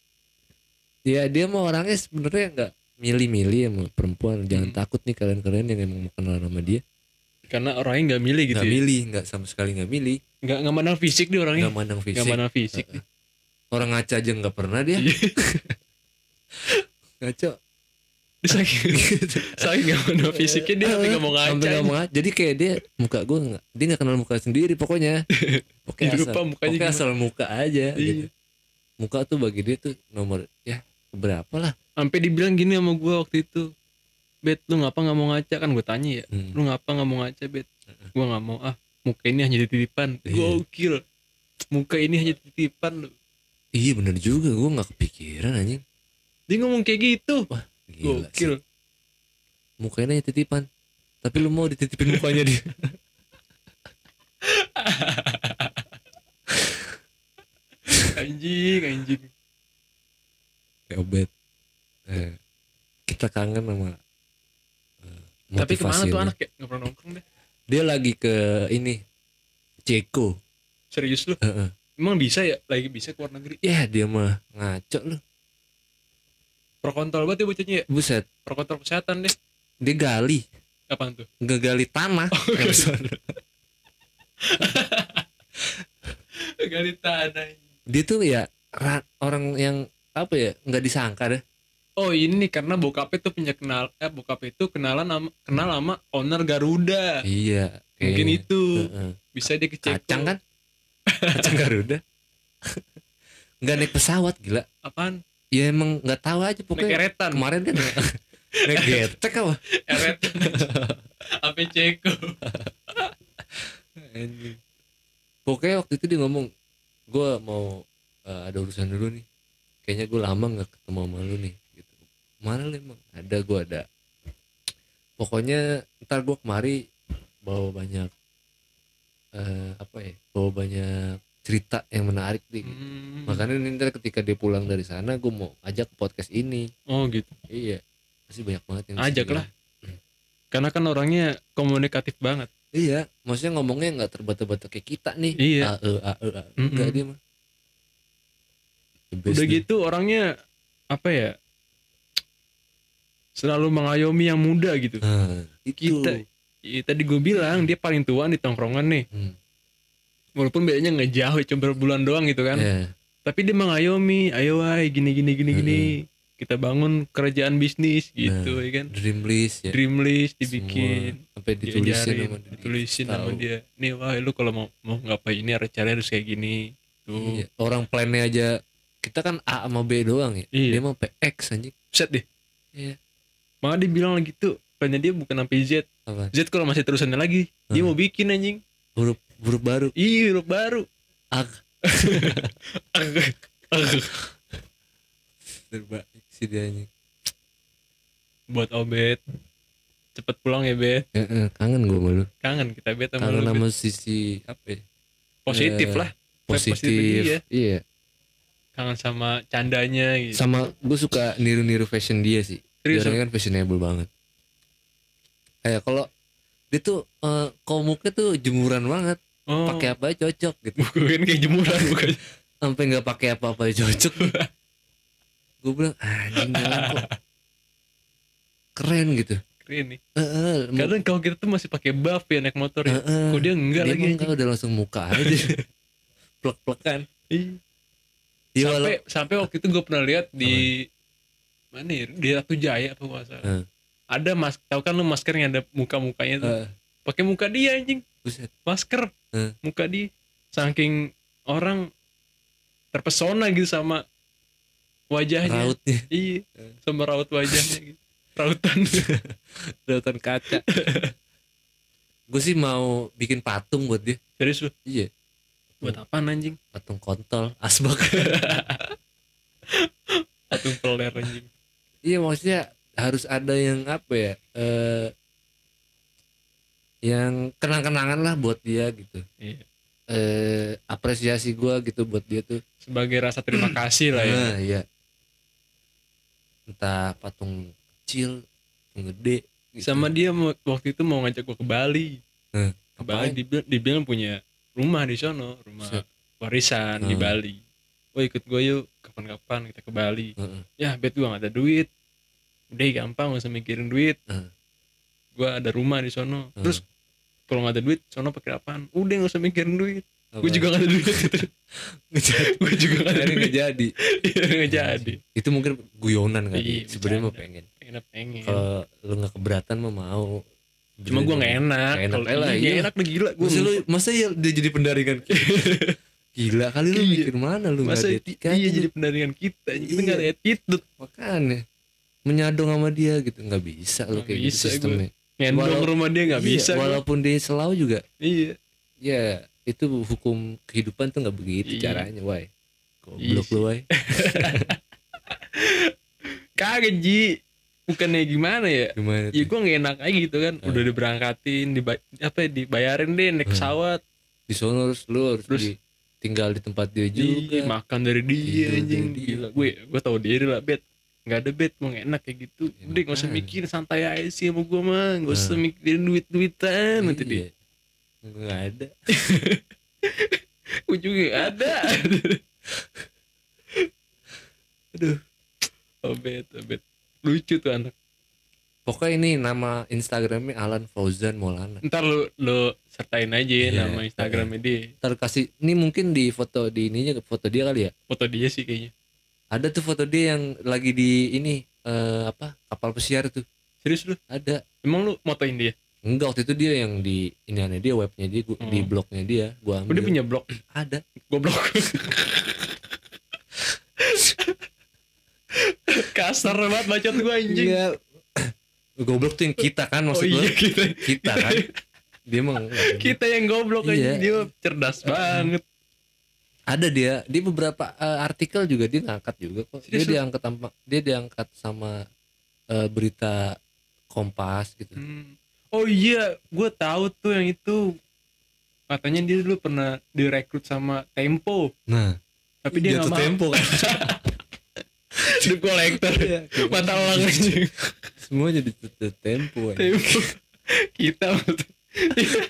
B: ya dia mah orangnya sebenarnya nggak milih-milih sama perempuan jangan
A: Hmm.
B: takut nih kalian-kalian yang emang mau kenal sama dia
A: karena orangnya nggak milih gitu
B: nggak
A: ya.
B: milih nggak sama sekali nggak milih
A: nggak nggak mandang fisik dia orangnya
B: nggak mandang
A: nggak
B: fisik
A: mandang fisik dia.
B: orang ngaca aja nggak pernah dia [LAUGHS]
A: Iya.
B: ngaco
A: dia [LAUGHS] saking saking nggak mandang fisiknya dia sampai nggak mau
B: Sampai
A: ngaca
B: nggak mau ngaca. jadi kayak dia muka gue nggak dia nggak kenal muka sendiri
A: [LAUGHS]
B: pokoknya pokoknya
A: Dia lupa
B: asal,
A: mukanya
B: pokoknya asal muka aja
A: Iya.
B: gitu. muka tuh bagi dia tuh nomor ya berapa lah
A: sampai dibilang gini sama gue waktu itu bet lu ngapa nggak mau ngaca kan gue tanya ya
B: Hmm.
A: lu ngapa nggak mau ngaca bet gue nggak mau ah muka ini hanya titipan
B: Iya.
A: gokil muka ini hanya titipan lu
B: Iya bener juga gue gak kepikiran anjing
A: dia ngomong kayak gitu
B: Gila sih.
A: gokil
B: Mukanya aja titipan Tapi lu mau dititipin
A: [LAUGHS]
B: mukanya dia
A: anjing anjing
B: Kayak obet Eh, Kita kangen sama eh,
A: tapi kemana
B: motivasi
A: tuh
B: lu.
A: anak ya nggak pernah nongkrong deh
B: Dia lagi ke ini Ceko
A: serius lu
B: Heeh.
A: emang bisa ya lagi bisa ke luar negeri
B: Ya dia mah ngaco lu
A: prokontrol banget ya bocahnya ya
B: Buset
A: prokontrol kesehatan deh
B: Dia gali
A: kapan tuh
B: Ngegali tanah
A: gali. [LAUGHS] gali tanah
B: Dia tuh ya ra- Orang yang Apa ya nggak disangka deh
A: oh ini karena bokapnya tuh punya kenal eh bokapnya itu kenalan sama kenal sama owner Garuda
B: Iya
A: mungkin
B: kayaknya.
A: itu
B: Heeh.
A: bisa dia ke Ceko.
B: kacang kan
A: [LAUGHS]
B: kacang garuda [LAUGHS] nggak naik pesawat gila
A: apaan
B: ya emang nggak tahu aja
A: naik
B: pokoknya
A: eretan [LAUGHS]
B: kemarin kan
A: Iya.
B: naik [LAUGHS] getek apa
A: eretan apa Ceko
B: pokoknya waktu itu dia ngomong gue mau eh, ada urusan dulu nih kayaknya gue lama nggak ketemu sama lu nih gitu mana lu emang ada gue ada pokoknya ntar gue kemari bawa banyak eh, apa ya bawa banyak cerita yang menarik nih
A: Hmm.
B: Makanya ini ntar ketika dia pulang dari sana gue mau ajak ke podcast ini.
A: oh gitu
B: Iya. Pasti banyak banget yang
A: Ajak
B: bisa
A: lah. karena kan orangnya komunikatif banget
B: dia- Iya, maksudnya ngomongnya nggak terbata-bata kayak kita nih.
A: Iya.
B: A, e, a, e, a.
A: Mm-mm.
B: Enggak dia mah. The best
A: udah
B: dah.
A: gitu orangnya apa ya selalu mengayomi yang muda gitu
B: Nah, itu.
A: Kita. Iya, tadi gue bilang dia paling tua di tongkrongan nih
B: Hmm.
A: walaupun bedanya nggak jauh cuma berbulan doang gitu kan
B: Iya.
A: tapi dia mengayomi ayo wai gini gini gini gini
B: Hmm.
A: kita bangun kerjaan bisnis gitu ya kan
B: dream list ya.
A: dream list dibikin
B: Nah. Semua. sampai ditulisin
A: diajarin
B: sama dia.
A: ditulisin sama
B: Tahu.
A: dia nih wahai lu kalau mau mau ngapain ini harus caranya harus kayak gini tuh
B: Iya. Orang plannya aja kita kan A sama B doang ya.
A: Iya.
B: Dia mah PX anjing.
A: set deh
B: Iya.
A: malah dia bilang gitu plannya dia bukan sampai Z
B: Apa?
A: Z kalau masih terusannya lagi dia
B: Hmm.
A: mau bikin anjing
B: Huruf huruf baru.
A: ih huruf baru
B: Ag. Terbaik sih dia anjing.
A: buat obet cepet pulang ya bet
B: Eh, eh, kangen gue sama lu
A: kangen kita bet sama
B: kangen
A: lu, Bet.
B: sama sisi apa ya
A: positif
B: eh,
A: lah
B: positif,
A: positif, iya.
B: iya
A: kangen sama candanya gitu
B: sama gue suka niru-niru fashion dia sih dia
A: Serius,
B: orangnya kan fashionable banget kayak kalau dia tuh eh, komuknya tuh jemuran banget
A: oh [LAUGHS]
B: pakai apa aja cocok gitu
A: bukan kayak jemuran bukan
B: sampai nggak pakai apa-apa aja
A: [LAUGHS]
B: cocok "Ah, gue bilang anjing jalan kok keren gitu
A: ini
B: Heeh, mu-
A: kadang kalau kita tuh masih pakai buff ya naik motor ya
B: heeh.
A: kok dia enggak
B: Dia
A: lagi
B: mah
A: anjing.
B: udah langsung
A: [LAUGHS]
B: muka aja plek-plekan
A: Iya.
B: ya,
A: sampai
B: walau-
A: sampai waktu itu gue pernah lihat di mana ya di Ratu Jaya apa nggak salah
B: Heeh.
A: ada mas tau kan lu masker yang ada muka mukanya tuh
B: Heeh,
A: pakai muka dia anjing
B: Eh, buset.
A: masker
B: Heeh.
A: muka dia saking orang terpesona gitu sama wajahnya [LAUGHS]
B: rautnya
A: iya
B: Heeh.
A: sama raut
B: [LAUGHS]
A: wajahnya gitu. rautan [LAUGHS]
B: rautan [LAUGHS] kaca gue sih mau bikin patung buat dia
A: serius lu
B: iya
A: buat apa anjing
B: patung kontol asbak
A: patung peler anjing
B: Iya maksudnya harus ada yang apa ya eh yang kenang-kenangan lah buat dia gitu.
A: Iya.
B: Eh apresiasi gua gitu buat dia tuh.
A: sebagai rasa terima kasih lah ya
B: Ah, iya. Entah patung kecil, patung gede. gitu.
A: sama dia mau- waktu itu mau ngajak gua ke Bali
B: Hmm,
A: ke Bali dibilang, dibilang punya rumah di sono rumah
B: Set.
A: warisan di
B: Hmm.
A: Bali oh ikut gue yuk kapan-kapan kita ke Bali
B: Heeh.
A: ya bet gua gak ada duit udah gampang gak usah mikirin duit
B: Hmm.
A: gua ada rumah di sono
B: Hmm.
A: terus kalau gak ada duit sono pakai apaan udah gak usah mikirin duit gue
B: Apa?
A: juga [LAUGHS] gak ada duit gue juga kan- gak ada
B: Akhirnya
A: duit
B: nggak jadi.
A: nggak jadi
B: Itu mungkin guyonan
A: Iya,
B: kali. Sebenarnya mah
A: bercanda.
B: pengen.
A: pengen apa pengen
B: Kalau lu nggak keberatan mah mau.
A: cuma gua gak enak
B: Nggak enak
A: kalau
B: aja lah,
A: iya, nggak
B: iya.
A: enak udah gila gue
B: Masa lu masa ya dia jadi
A: [LAUGHS]
B: pendaringan Gila kali lu
A: Iya.
B: mikir mana lu
A: masa
B: nggak ada
A: dia
B: etikanya
A: jadi pendaringan kita kita
B: Iya.
A: gak ada attitude
B: makanya ya. menyadong sama dia gitu nggak bisa lu
A: Nggak
B: kayak
A: bisa
B: gitu sistemnya
A: ngendong
B: Walau-
A: rumah dia nggak
B: Iya,
A: bisa gua.
B: walaupun dia selau juga
A: iya
B: ya itu hukum kehidupan tuh nggak
A: Iya.
B: begitu caranya why
A: Iya
B: goblok
A: sih.
B: lu
A: [LAUGHS]
B: why
A: kagak ji bukannya gimana ya ya
B: gimana tuh?
A: gue nggak enak aja gitu kan
B: Hmm.
A: udah diberangkatin dibay- apa ya, dibayarin deh naik
B: Hmm.
A: pesawat
B: di sono harus lu harus
A: Terus- Iya,
B: di- tinggal di tempat dia
A: Ih,
B: iya juga
A: makan dari dia
B: Tidur
A: anjing
B: dari dia.
A: gila gue gue tau diri lah bet nggak ada bet mau nggak enak kayak gitu
B: Ya,
A: udah nggak usah
B: makanya.
A: mikir santai aja sih sama gue mah nggak usah
B: Hmm.
A: mikirin duit duitan nanti dia
B: Iya. nggak ada
A: gue juga nggak
B: [LAUGHS]
A: ada aduh oh bet oh, bet lucu tuh anak
B: pokoknya ini nama instagramnya Alan Fauzan Maulana
A: ntar lu lu sertain aja ya
B: Iya,
A: nama Instagramnya dia
B: ntar kasih ini mungkin di foto di ininya foto dia kali ya
A: foto dia sih kayaknya
B: ada tuh foto dia yang lagi di ini eh, apa kapal pesiar tuh
A: serius lu
B: ada
A: emang lu motoin dia
B: Enggak waktu itu dia yang di ini aneh dia webnya dia gua-
A: Hmm.
B: di blognya dia gua
A: udah
B: ambil
A: punya blog
B: ada
A: goblok kasar banget bacot gua anjing
B: iya [COUGHS] goblok tuh yang kita kan
A: oh
B: maksud gua
A: iya kita
B: kita kan dia
A: [LAUGHS]
B: emang
A: kita yang goblok
B: Iya.
A: anjing dia mah cerdas banget
B: ada dia di beberapa eh, artikel juga dia ngangkat juga kok dia
A: Serius lu?
B: diangkat sama dia diangkat sama eh, berita Kompas gitu
A: Hmm. oh iya gua tahu tuh yang itu katanya dia dulu pernah direkrut sama Tempo
B: nah
A: tapi dia nggak
B: jatuh
A: mau
B: tempo
A: [LAUGHS]
B: kan
A: The kolektor
B: Iya.
A: mata uang anjing
B: semua jadi jatuh tempo ya.
A: Tempo kita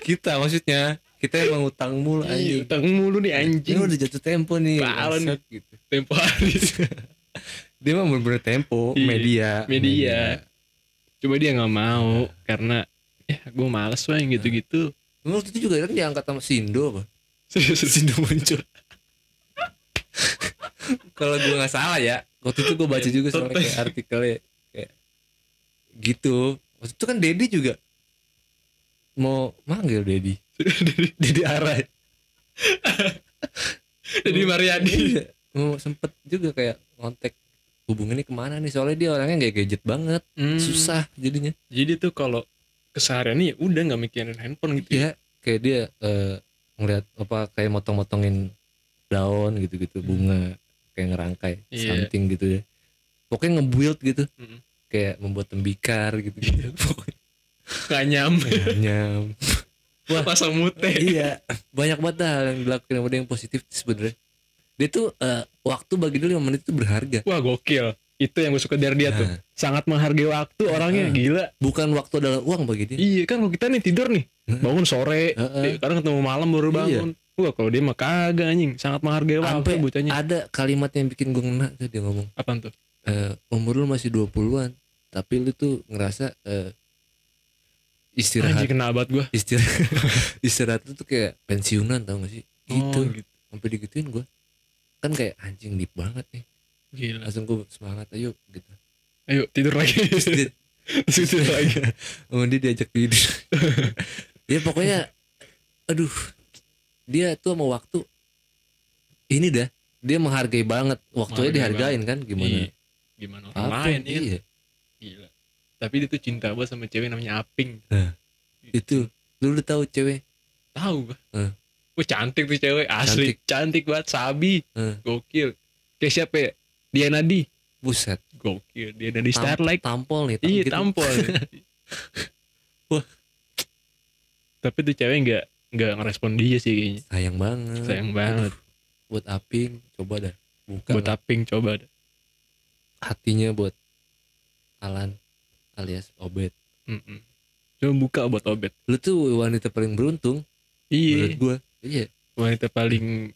B: kita maksudnya kita yang mengutang mulu
A: Iya,
B: anjing
A: utang mulu nih
B: Ini
A: anjing
B: Iya, udah jatuh tempo nih
A: Parah nih.
B: bangsat gitu
A: tempo hari
B: dia mah bener-bener tempo
A: Iya,
B: media
A: media. coba dia nggak mau
B: Iya.
A: karena ya gue males wah yang gitu-gitu [LAUGHS]
B: Emang waktu itu juga kan diangkat sama Sindo apa
A: serius Sindo muncul
B: kalau gue nggak salah ya waktu itu gue baca juga soalnya kayak artikelnya kayak gitu waktu itu kan Dedi juga mau manggil Dedi Dedi Arai
A: jadi Mariadi
B: Iya. mau sempet juga kayak kontak hubungannya kemana nih soalnya dia orangnya nggak gadget banget susah jadinya
A: Hmm. jadi tuh kalau kesehariannya ya udah nggak mikirin handphone gitu ya
B: Iya, kayak dia eh, ngeliat apa kayak motong-motongin daun gitu-gitu bunga kayak ngerangkai
A: Hmm. Iya.
B: something gitu ya. Pokoknya nge-build gitu.
A: Mm.
B: Kayak membuat tembikar gitu
A: Iya,
B: gitu. Pokoknya
A: nggak nyampe [LAUGHS]
B: nyam.
A: pasang mute
B: iya, banyak banget dah hal yang dilakukan sama dia yang positif sebenarnya. Dia tuh eh, waktu bagi dia 5 menit itu berharga.
A: wah gokil itu yang gue suka dari dia Iya tuh
B: Nah,
A: sangat menghargai waktu orangnya
B: Nah.
A: gila
B: bukan waktu adalah uang bagi dia.
A: iya kan kalau kita nih tidur nih
B: Nah.
A: bangun sore
B: Heeh.
A: kadang ketemu malam baru
B: Iya.
A: bangun wah kalau dia mah kagak anjing sangat menghargai waktu
B: Sampai
A: bocahnya
B: ada kalimat yang bikin gue ngena tuh dia ngomong
A: apaan tuh
B: eh umur lu masih 20-an tapi lu tuh ngerasa eh
A: Anjir
B: istirahat
A: kena abad gue
B: istirahat [LAUGHS] istirahat itu kayak pensiunan tau gak sih gitu
A: gitu.
B: sampai digituin gue kan kayak anjing deep banget nih
A: Gila.
B: langsung gue semangat ayo
A: [LAUGHS]
B: gitu
A: Ayo tidur lagi.
B: Terus
A: Terus tidur lagi.
B: dia- [LAUGHS] sama dia diajak
A: [LAUGHS]
B: tidur ya pokoknya aduh dia tuh sama waktu ini dah dia menghargai banget waktunya
A: Menghargai
B: dihargain kan gimana
A: Iya. Gimana orang
B: Apa?
A: lain ya.
B: iya
A: Gila. Tapi dia tuh cinta banget sama cewek namanya Aping.
B: itu lu udah tahu cewek
A: Tahu gua.
B: Heeh.
A: Wah cantik tuh cewek asli cantik, banget sabi.
B: Heeh.
A: Gokil. Kayak siapa ya? Diana Di.
B: buset
A: Gokil. Diana Di
B: tam-
A: Starlight.
B: tampol nih tam-
A: Iya
B: gitu. [LAUGHS]
A: tampol.
B: Wah.
A: Tapi tuh cewek nggak nggak ngerespon dia sih kayaknya.
B: sayang banget
A: Sayang banget.
B: buat aping coba dah buka
A: Buat Aping coba. dah.
B: hatinya buat Alan alias Obed
A: Mm-mm. Coba buka buat Obet.
B: lu tuh wanita paling beruntung menurut
A: Iya.
B: gua iya
A: wanita paling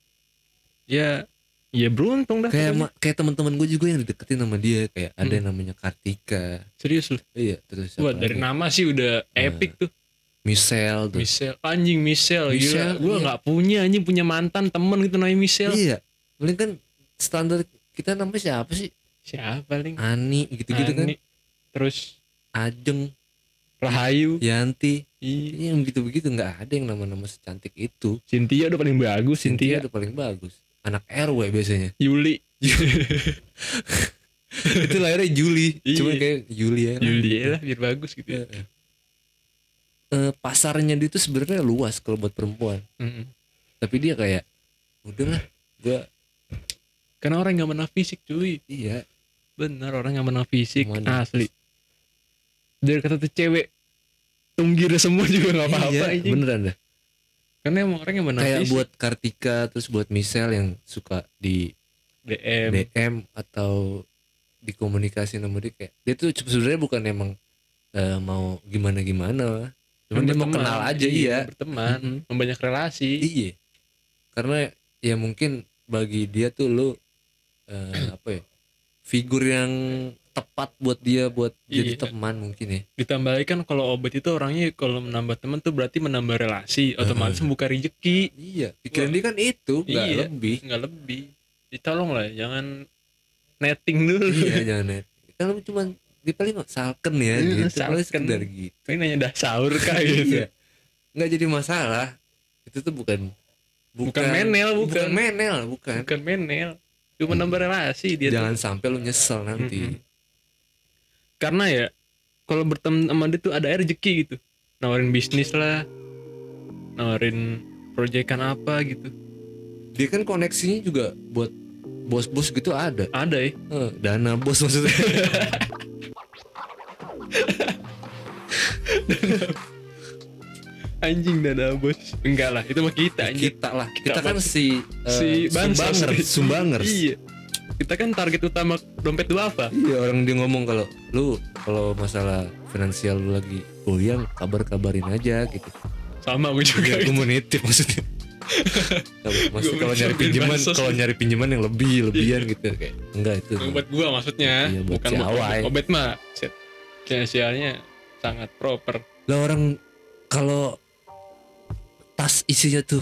A: ya ya beruntung dah
B: kayak
A: pokoknya.
B: ma- kayak teman-teman gue juga yang dideketin sama dia kayak ada
A: Hmm.
B: yang namanya Kartika
A: serius lu
B: iya terus
A: wah
B: siapa
A: dari
B: lagi? Iya,
A: nama sih udah epic tuh
B: Michelle tuh
A: Michelle anjing Michelle,
B: Michelle,
A: gila gua
B: iya.
A: nggak punya anjing punya mantan temen gitu namanya Michelle
B: iya paling kan standar kita namanya siapa sih
A: siapa paling
B: Ani gitu-gitu kan
A: terus
B: Ajeng
A: Rahayu
B: Yanti
A: Iya.
B: Iya, yang begitu-begitu nggak ada yang nama-nama secantik itu
A: Cynthia udah paling bagus Cynthia,
B: udah paling bagus anak RW
A: [LAUGHS]
B: biasanya
A: Yuli
B: itu lahirnya Juli
A: Iya.
B: cuma kayak Juli ya Iya.
A: Yuli lah biar bagus gitu ya.
B: Eh, pasarnya dia tuh sebenarnya luas kalau buat perempuan
A: Mm-mm.
B: tapi dia kayak udahlah gua
A: karena orang nggak menang fisik cuy
B: iya
A: bener orang nggak menang fisik
B: Mana?
A: asli dari kata tuh cewek tunggir semua juga nggak apa-apa
B: iya,
A: anjing.
B: beneran dah
A: karena emang orang yang menang
B: kayak
A: fisik.
B: buat Kartika terus buat Michelle yang suka di
A: DM
B: DM atau dikomunikasi sama dia kayak dia tuh sebenarnya bukan emang eh, mau gimana gimana cuman dia mau
A: Berteman,
B: kenal aja
A: iya,
B: iya
A: berteman
B: Mm-mm.
A: membanyak relasi
B: iya karena ya mungkin bagi dia tuh lu
A: [CLEARS THROAT]
B: eh, apa ya figur yang tepat buat dia buat jadi
A: Iya.
B: teman mungkin ya
A: ditambah lagi kan kalau obat itu orangnya kalau menambah teman tuh berarti menambah relasi otomatis membuka rezeki
B: iya pikiran
A: Wah.
B: dia kan itu nggak
A: Iya.
B: lebih
A: nggak lebih Jadi tolong lah jangan netting dulu [LAUGHS]
B: iya jangan net kalau cuma dia paling salken ya
A: Iya,
B: gitu paling
A: salken.
B: sekedar gitu
A: ini nanya dah sahur kah
B: [LAUGHS] iya
A: gitu
B: nggak jadi masalah itu tuh bukan
A: Bukan menel, bukan.
B: menel bukan,
A: bukan menel cuma nambah relasi dia tuh.
B: jangan sampai lu nyesel nanti
A: Mm-mm. karena ya kalau berteman sama dia tuh ada air rezeki gitu nawarin bisnis lah nawarin proyekan apa gitu
B: dia kan koneksinya juga buat bos-bos gitu ada
A: ada ya
B: Eh, dana bos maksudnya
A: anjing dada bos enggak lah itu mah kita anjing
B: kita lah kita kan
A: banget.
B: si eh,
A: si bansos
B: sumbangers sumbangers
A: iya kita kan target utama dompet dua apa
B: Iya orang dia ngomong kalau lu kalau masalah finansial lu lagi goyang kabar-kabarin aja gitu.
A: sama gue juga
B: Iya, gue mau nitip maksudnya. Kalau- maksudnya kalau nyari
A: mencobain
B: pinjaman,
A: bansos.
B: kalau nyari pinjaman yang lebih lebihan gitu kayak enggak itu.
A: Yang Iya. buat gua maksudnya
B: Iya, buat
A: bukan
B: si
A: buat
B: Awai.
A: obet- obet mah set finansialnya sangat proper
B: Lah orang kalau tas isinya tuh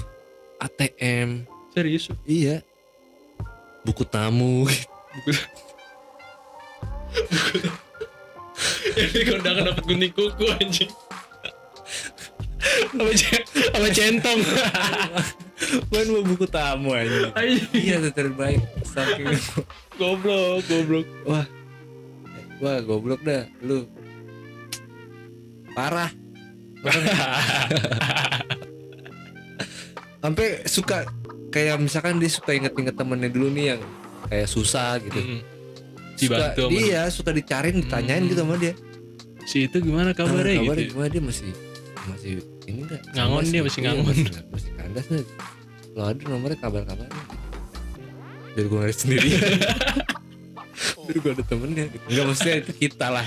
B: ATM,
A: serius [LAUGHS]
B: iya. Buku tamu. [LAUGHS] gitu.
A: ini kondangan dapat gunting kuku anjing sama, ce- sama centong [LAUGHS]
B: Kan mau buku tamu aja.
A: Anjing,
B: iya itu terbaik. Saking
A: goblok
B: [LAUGHS]
A: goblok
B: Wah. Wah, goblok dah lu. Parah. Sampai suka kayak misalkan dia suka inget-inget temennya dulu nih yang kayak susah gitu.
A: Mm.
B: Suka
A: Dibantu sama
B: dia suka dicariin, ditanyain gitu sama dia.
A: si itu gimana kabarnya
B: Ah,
A: gitu
B: gimana dia masih masih ini enggak?
A: Ngangon dia, masih ngangon.
B: Masih, masih kandas nih. Lo ada nomornya kabar-kabarnya. Biar gue ngeliat
A: [LAUGHS]
B: sendiri. Biar gue ada temennya. Gitu. Enggak maksudnya itu kita lah.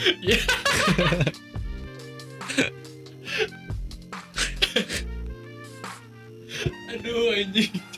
A: aduh anjing